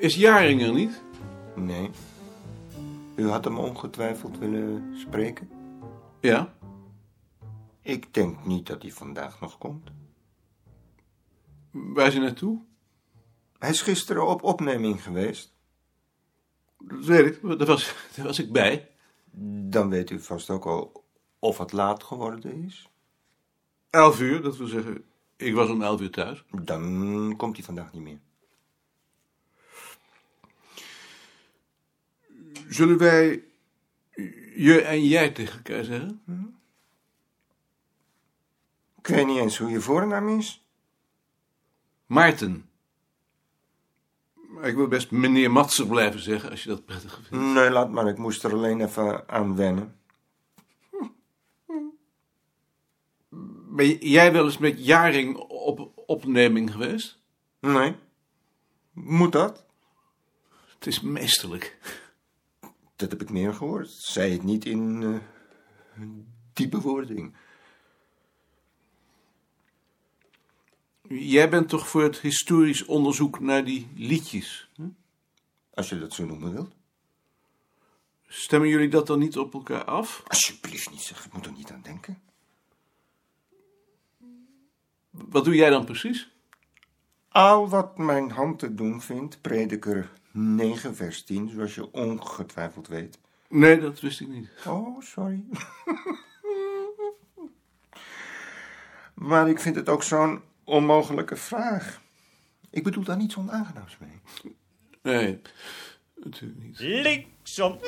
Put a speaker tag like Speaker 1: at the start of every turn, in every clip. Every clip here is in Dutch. Speaker 1: Is Jaring er niet?
Speaker 2: Nee. U had hem ongetwijfeld willen spreken?
Speaker 1: Ja.
Speaker 2: Ik denk niet dat hij vandaag nog komt.
Speaker 1: Waar is hij naartoe?
Speaker 2: Hij is gisteren op opneming geweest.
Speaker 1: Dat weet ik, maar daar was, daar was ik bij.
Speaker 2: Dan weet u vast ook al of het laat geworden is.
Speaker 1: Elf uur, dat wil zeggen, ik was om elf uur thuis.
Speaker 2: Dan komt hij vandaag niet meer.
Speaker 1: Zullen wij je en jij tegen elkaar zeggen?
Speaker 2: Ik weet niet eens hoe je voornaam is.
Speaker 1: Maarten. Maar ik wil best meneer Matser blijven zeggen, als je dat prettig vindt.
Speaker 2: Nee, laat maar. Ik moest er alleen even aan wennen.
Speaker 1: Ben jij wel eens met Jaring op opneming geweest?
Speaker 2: Nee. Moet dat?
Speaker 1: Het is meesterlijk.
Speaker 2: Dat heb ik meer gehoord. Zij het niet in eh, die bewoording.
Speaker 1: Jij bent toch voor het historisch onderzoek naar die liedjes? hè?
Speaker 2: Als je dat zo noemen wilt.
Speaker 1: Stemmen jullie dat dan niet op elkaar af?
Speaker 2: Alsjeblieft niet, zeg. Ik moet er niet aan denken.
Speaker 1: Wat doe jij dan precies?
Speaker 2: Al wat mijn hand te doen vindt, prediker 9 vers 10, zoals je ongetwijfeld weet.
Speaker 1: Nee, dat wist ik niet.
Speaker 2: Oh, sorry. maar ik vind het ook zo'n onmogelijke vraag. Ik bedoel daar niets onaangenaams mee.
Speaker 1: Nee, natuurlijk niet.
Speaker 3: Linksom.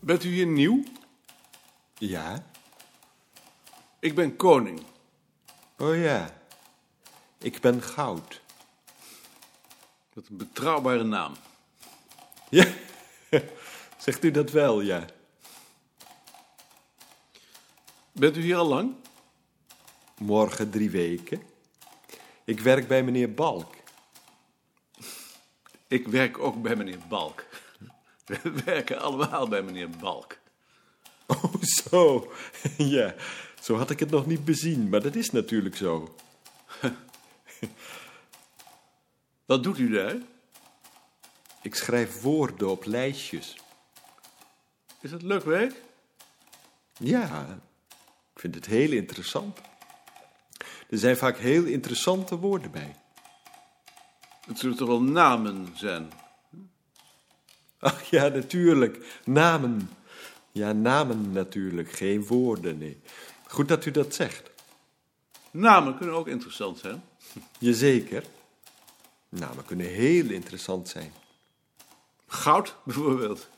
Speaker 1: Bent u hier nieuw?
Speaker 2: Ja?
Speaker 1: Ik ben koning.
Speaker 2: Oh ja. Ik ben goud.
Speaker 1: Wat een betrouwbare naam.
Speaker 4: Ja, zegt u dat wel, ja.
Speaker 1: Bent u hier al lang?
Speaker 4: Morgen drie weken. Ik werk bij meneer Balk.
Speaker 1: Ik werk ook bij meneer Balk. We werken allemaal bij meneer Balk.
Speaker 4: Oh, zo. Ja, zo had ik het nog niet bezien, maar dat is natuurlijk zo.
Speaker 1: Wat doet u daar?
Speaker 4: Ik schrijf woorden op lijstjes.
Speaker 1: Is dat leuk werk?
Speaker 4: Ja, ik vind het heel interessant. Er zijn vaak heel interessante woorden bij.
Speaker 1: Het zullen toch wel namen zijn?
Speaker 4: Ach ja, natuurlijk. Namen. Ja, namen natuurlijk. Geen woorden, nee. Goed dat u dat zegt.
Speaker 1: Namen kunnen ook interessant zijn.
Speaker 4: Jazeker. Namen kunnen heel interessant zijn.
Speaker 1: Goud bijvoorbeeld.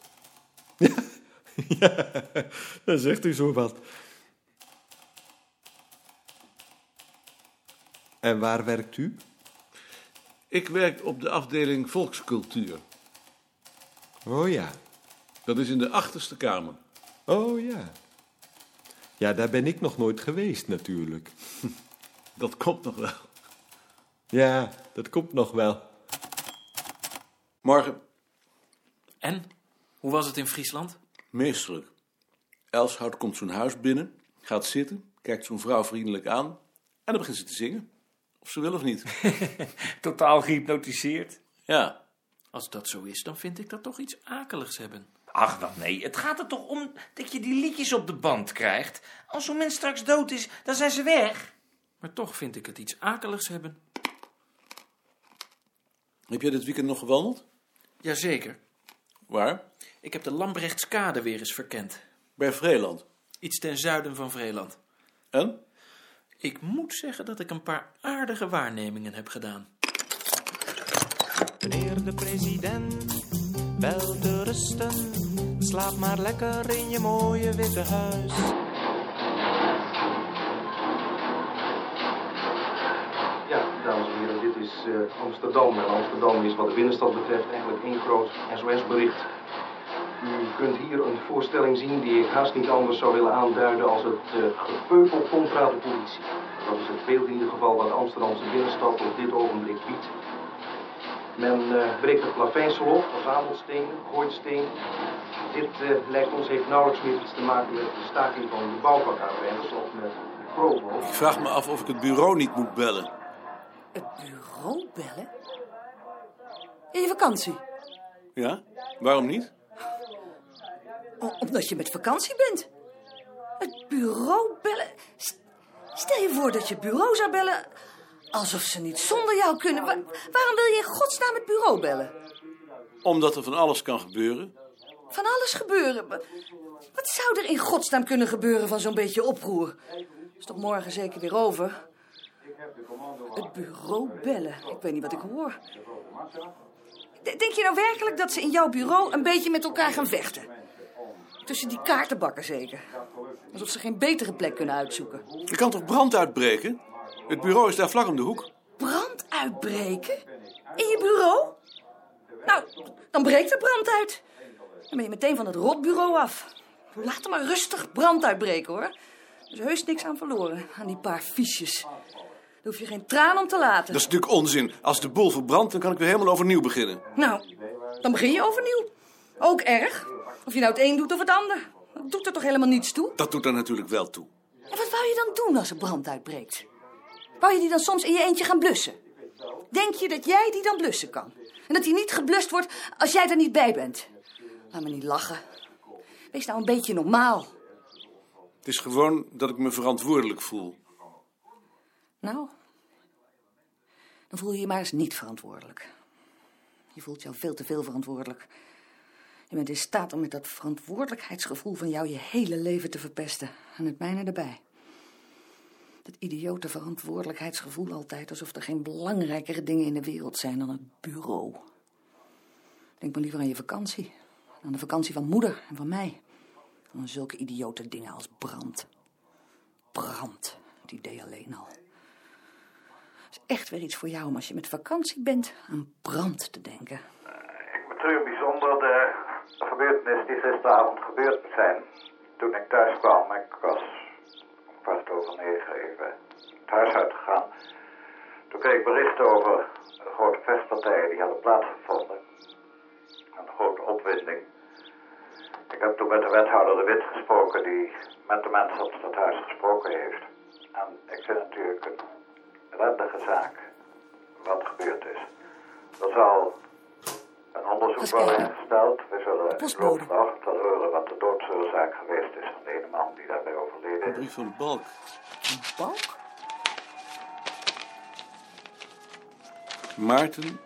Speaker 4: ja, dan zegt u zo wat. En waar werkt u?
Speaker 1: Ik werk op de afdeling volkscultuur.
Speaker 4: Oh ja,
Speaker 1: Dat is in de achterste kamer.
Speaker 4: oh ja. Ja, daar ben ik nog nooit geweest natuurlijk.
Speaker 1: Dat komt nog wel.
Speaker 4: Ja, dat komt nog wel.
Speaker 1: Morgen
Speaker 5: En? Hoe was het in Friesland?
Speaker 1: meesterlijk. Elshout komt zo'n huis binnen, gaat zitten, kijkt zo'n vrouw vriendelijk aan en dan begint ze te zingen. Of ze wil of niet.
Speaker 3: Totaal gehypnotiseerd.
Speaker 1: Ja,
Speaker 5: Als dat zo is, dan vind ik dat toch iets akeligs hebben.
Speaker 3: Ach, wat nee. Het gaat er toch om dat je die liedjes op de band krijgt. Als zo'n mens straks dood is, dan zijn ze weg.
Speaker 5: Maar toch vind ik het iets akeligs hebben.
Speaker 1: heb jij dit weekend nog gewandeld?
Speaker 5: Jazeker.
Speaker 1: Waar?
Speaker 5: Ik heb de Lambrechtskade weer eens verkend.
Speaker 1: Bij Vreeland.
Speaker 5: Iets ten zuiden van Vreeland.
Speaker 1: En?
Speaker 5: Ik moet zeggen dat ik een paar aardige waarnemingen heb gedaan.
Speaker 6: Meneer de president, wel te rusten. Slaap maar lekker in je mooie witte huis.
Speaker 7: Ja, dames en heren, dit is eh, Amsterdam. En Amsterdam is wat de binnenstad betreft eigenlijk één groot SOS-bericht. U kunt hier een voorstelling zien die ik haast niet anders zou willen aanduiden als het eh, gepeupel contra de politie. Dat is het beeld in ieder geval dat Amsterdamse binnenstad op dit ogenblik biedt. Men eh, breekt het plaveisel op, verzamelt stenen, gooit steen. Dit eh, lijkt ons heeft nauwelijks meer iets te maken met de staking van de bouwvakarbeiders of met Provo.
Speaker 1: Ik vraag me af of ik het bureau niet moet bellen.
Speaker 8: Het bureau bellen? In je vakantie?
Speaker 1: Ja? Waarom niet?
Speaker 8: O- omdat je met vakantie bent. Het bureau bellen? S- Stel je voor dat je het bureau zou bellen... alsof ze niet zonder jou kunnen. Wa- waarom wil je in godsnaam het bureau bellen?
Speaker 1: Omdat er van alles kan gebeuren.
Speaker 8: Van alles gebeuren. Wa- Wat zou er in godsnaam kunnen gebeuren van zo'n beetje oproer? Is toch morgen zeker weer over? Het bureau bellen. Ik weet niet wat ik hoor. D- Denk je nou werkelijk dat ze in jouw bureau een beetje met elkaar gaan vechten? Tussen die kaartenbakken zeker. Alsof ze geen betere plek kunnen uitzoeken.
Speaker 1: Je kan toch brand uitbreken? Het bureau is daar vlak om de hoek.
Speaker 8: Brand uitbreken? In je bureau? Nou, dan breekt er brand uit. Dan ben je meteen van het rotbureau af. Laat er maar rustig brand uitbreken, hoor. Er is heus niks aan verloren, aan die paar fiches. Daar hoef je geen traan om te laten.
Speaker 1: Dat is natuurlijk onzin. Als de boel verbrandt, dan kan ik weer helemaal overnieuw beginnen.
Speaker 8: Nou, dan begin je overnieuw. Ook erg. Of je nou het een doet of het ander. Dat doet er toch helemaal niets toe?
Speaker 1: Dat doet er natuurlijk wel toe.
Speaker 8: En wat wou je dan doen als er brand uitbreekt? Wou je die dan soms in je eentje gaan blussen? Denk je dat jij die dan blussen kan? En dat die niet geblust wordt als jij er niet bij bent? Laat me niet lachen. Wees nou een beetje normaal.
Speaker 1: Het is gewoon dat ik me verantwoordelijk voel.
Speaker 8: Nou, dan voel je je maar eens niet verantwoordelijk. Je voelt jou veel te veel verantwoordelijk. Je bent in staat om met dat verantwoordelijkheidsgevoel van jou je hele leven te verpesten. En het mijne erbij. Dat idiote verantwoordelijkheidsgevoel altijd, alsof er geen belangrijkere dingen in de wereld zijn dan het bureau. Denk maar liever aan je vakantie. Aan de vakantie van moeder en van mij. Dan aan zulke idiote dingen als brand. Brand, het idee alleen al is echt weer iets voor jou om als je met vakantie bent aan brand te denken.
Speaker 9: Ik betreur bijzonder de gebeurtenis die gisteravond gebeurd zijn. Toen ik thuis kwam, ik was om kwart over negen even het huis uitgegaan. Toen kreeg ik berichten over de grote festpartijen die hadden plaatsgevonden. Een grote opwinding. Ik heb toen met de wethouder De Wit gesproken, die met de mensen op het stadhuis gesproken heeft. En ik vind het natuurlijk een ellendige zaak wat gebeurd is. Er zal een onderzoek
Speaker 8: Eens
Speaker 9: worden
Speaker 8: kijken.
Speaker 9: ingesteld. We zullen in de loop
Speaker 8: postbode.
Speaker 9: van de ochtend wel horen wat de doodsoorzaak geweest is van de ene man die daarbij overleden
Speaker 1: Een
Speaker 9: is.
Speaker 1: brief van Balk.
Speaker 8: Balk?
Speaker 1: Maarten,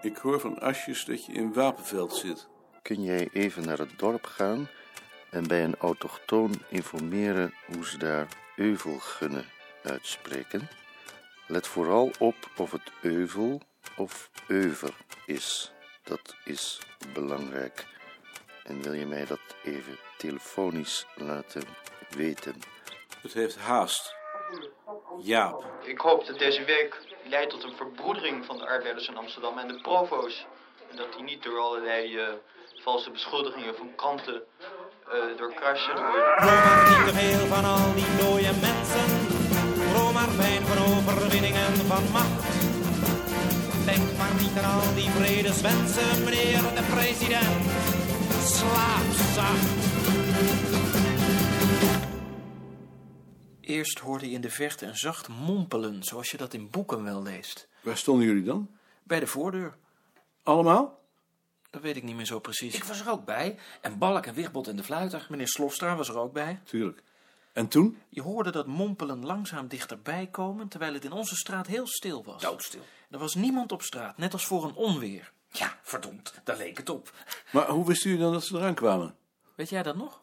Speaker 1: ik hoor van Asjes dat je in Wapenveld zit.
Speaker 10: Kun jij even naar het dorp gaan en bij een autochtoon informeren hoe ze daar euvelgunnen uitspreken? Let vooral op of het euvel of euver is. Dat is belangrijk. En wil je mij dat even telefonisch laten weten?
Speaker 1: Het heeft haast. Jaap.
Speaker 11: Ik hoop dat deze week leidt tot een verbroedering van de arbeiders in Amsterdam en de provo's. En dat die niet door allerlei eh, valse beschuldigingen van kanten eh, door krasje worden.
Speaker 6: Niet te veel van al die dode mensen. Droom maar fijn van overwinningen van macht. Denk maar niet aan al die vredeswensen, meneer de president. Slaap zacht.
Speaker 5: Eerst hoorde je in de verte een zacht mompelen, zoals je dat in boeken wel leest.
Speaker 1: Waar stonden jullie dan?
Speaker 5: Bij de voordeur.
Speaker 1: Allemaal?
Speaker 5: Dat weet ik niet meer zo precies.
Speaker 3: Ik was er ook bij. En Balk en Wichtbot en de fluiter.
Speaker 5: Meneer Slofstra was er ook bij.
Speaker 1: Tuurlijk. En toen?
Speaker 5: Je hoorde dat mompelen langzaam dichterbij komen, terwijl het in onze straat heel stil was.
Speaker 3: Doodstil.
Speaker 5: Er was niemand op straat, net als voor een onweer.
Speaker 3: Ja, verdomd. Daar leek het op.
Speaker 1: Maar hoe wisten jullie dan dat ze eraan kwamen?
Speaker 5: Weet jij dat nog?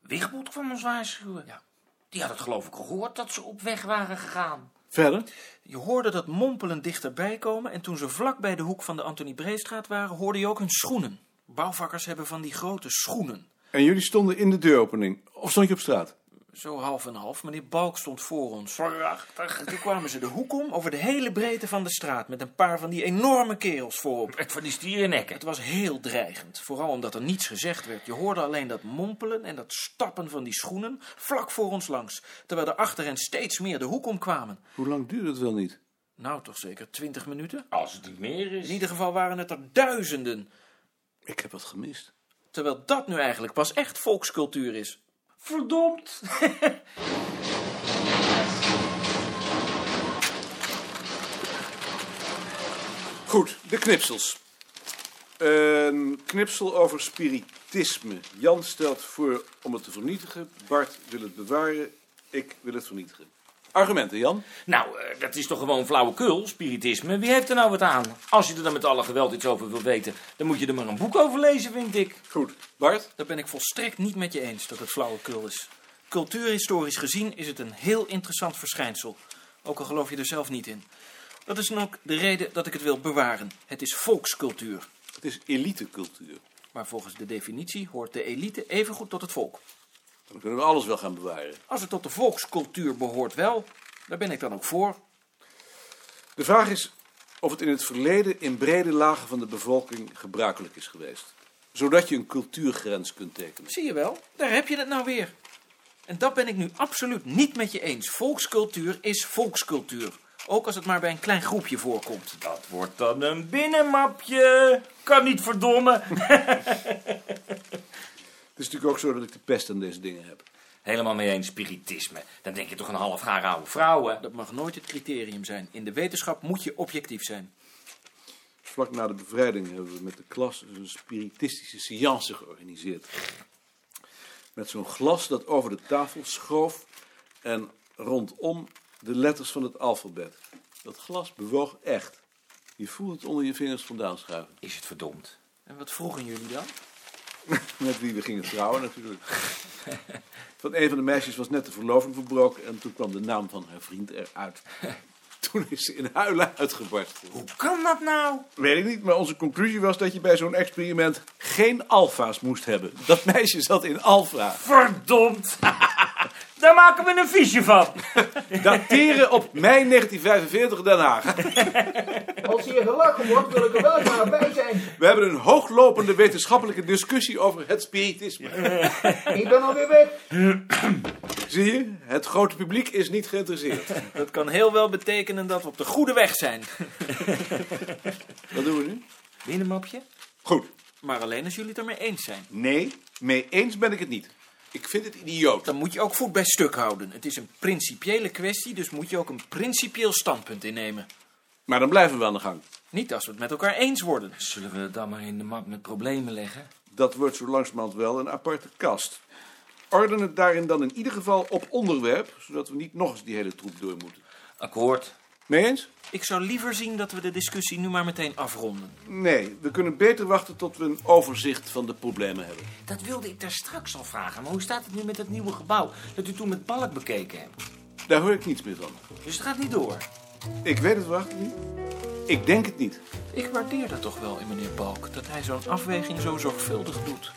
Speaker 3: Wichtbot kwam ons waarschuwen. Ja. Die had het geloof ik gehoord dat ze op weg waren gegaan.
Speaker 1: Verder?
Speaker 5: Je hoorde dat mompelen dichterbij komen en toen ze vlak bij de hoek van de Antonie Breestraat waren, hoorde je ook hun schoenen. Bouwvakkers hebben van die grote schoenen.
Speaker 1: En jullie stonden in de deuropening. Of stond je op straat?
Speaker 5: Zo half en half. Meneer Balk stond voor ons. Prachtig. En toen kwamen ze de hoek om, over de hele breedte van de straat, met een paar van die enorme kerels voorop.
Speaker 3: Het van die stierennekken.
Speaker 5: Het was heel dreigend, vooral omdat er niets gezegd werd. Je hoorde alleen dat mompelen en dat stappen van die schoenen vlak voor ons langs, terwijl er achter hen steeds meer de hoek om kwamen.
Speaker 1: Hoe lang duurde het wel niet?
Speaker 5: Nou, toch zeker twintig minuten?
Speaker 3: Als het niet meer is.
Speaker 5: In ieder geval waren het er duizenden.
Speaker 1: Ik heb wat gemist.
Speaker 5: Terwijl dat nu eigenlijk pas echt volkscultuur is.
Speaker 3: Verdomd.
Speaker 1: Goed, de knipsels. Een knipsel over spiritisme. Jan stelt voor om het te vernietigen. Bart wil het bewaren. Ik wil het vernietigen. Argumenten, Jan?
Speaker 3: Nou, eh, dat is toch gewoon flauwekul, spiritisme. Wie heeft er nou wat aan? Als je er dan met alle geweld iets over wil weten, dan moet je er maar een boek over lezen, vind ik.
Speaker 1: Goed. Bart?
Speaker 5: Daar ben ik volstrekt niet met je eens dat het flauwekul is. Cultuurhistorisch gezien is het een heel interessant verschijnsel. Ook al geloof je er zelf niet in. Dat is dan ook de reden dat ik het wil bewaren. Het is volkscultuur.
Speaker 1: Het is elitecultuur.
Speaker 5: Maar volgens de definitie hoort de elite evengoed tot het volk.
Speaker 1: Dan kunnen we alles wel gaan bewaren.
Speaker 5: Als het tot de volkscultuur behoort wel, daar ben ik dan ook voor.
Speaker 1: De vraag is of het in het verleden in brede lagen van de bevolking gebruikelijk is geweest. Zodat je een cultuurgrens kunt tekenen.
Speaker 5: Zie je wel, daar heb je het nou weer. En dat ben ik nu absoluut niet met je eens. Volkscultuur is volkscultuur. Ook als het maar bij een klein groepje voorkomt.
Speaker 3: Dat wordt dan een binnenmapje. Kan niet verdomme.
Speaker 1: Het is natuurlijk ook zo dat ik de pest aan deze dingen heb.
Speaker 3: Helemaal mee eens, spiritisme. Dan denk je toch een half gaar oude vrouw, hè?
Speaker 5: Dat mag nooit het criterium zijn. In de wetenschap moet je objectief zijn.
Speaker 1: Vlak na de bevrijding hebben we met de klas een spiritistische seance georganiseerd. Met zo'n glas dat over de tafel schoof en rondom de letters van het alfabet. Dat glas bewoog echt. Je voelt het onder je vingers vandaan schuiven.
Speaker 3: Is het verdomd?
Speaker 5: En wat vroegen jullie dan?
Speaker 1: Met wie we gingen trouwen natuurlijk. Van een van de meisjes was net de verloving verbroken en toen kwam de naam van haar vriend eruit. Toen is ze in huilen uitgebarsten.
Speaker 3: Hoe kan dat nou?
Speaker 1: Weet ik niet, maar onze conclusie was dat je bij zo'n experiment geen alfa's moest hebben. Dat meisje zat in alfa.
Speaker 3: Verdomd. Daar maken we een visje van.
Speaker 1: Dateren op mei 1945 Den Haag.
Speaker 12: Als hier gelachen wordt, wil ik er wel maar bij zijn.
Speaker 1: We hebben een hooglopende wetenschappelijke discussie over het spiritisme.
Speaker 12: Ik ben alweer weg.
Speaker 1: Zie je, het grote publiek is niet geïnteresseerd.
Speaker 5: Dat kan heel wel betekenen dat we op de goede weg zijn.
Speaker 1: Wat doen we nu?
Speaker 5: Binnenmapje?
Speaker 1: Goed.
Speaker 5: Maar alleen als jullie het ermee eens zijn.
Speaker 1: Nee, mee eens ben ik het niet. Ik vind het idioot.
Speaker 5: Dan moet je ook voet bij stuk houden. Het is een principiële kwestie, dus moet je ook een principieel standpunt innemen.
Speaker 1: Maar dan blijven we aan de gang.
Speaker 5: Niet als we het met elkaar eens worden.
Speaker 3: Zullen we het dan maar in de map met problemen leggen?
Speaker 1: Dat wordt zo langzamerhand wel een aparte kast. Orden het daarin dan in ieder geval op onderwerp, zodat we niet nog eens die hele troep door moeten.
Speaker 3: Akkoord.
Speaker 1: Mee eens?
Speaker 5: Ik zou liever zien dat we de discussie nu maar meteen afronden.
Speaker 1: Nee, we kunnen beter wachten tot we een overzicht van de problemen hebben.
Speaker 3: Dat wilde ik daar straks al vragen. Maar hoe staat het nu met dat nieuwe gebouw dat u toen met balk bekeken hebt?
Speaker 1: Daar hoor ik niets meer van.
Speaker 3: Dus het gaat niet door.
Speaker 1: Ik weet het wacht niet. Ik denk het niet.
Speaker 5: Ik waardeer dat toch wel in meneer Balk, dat hij zo'n afweging zo zorgvuldig doet.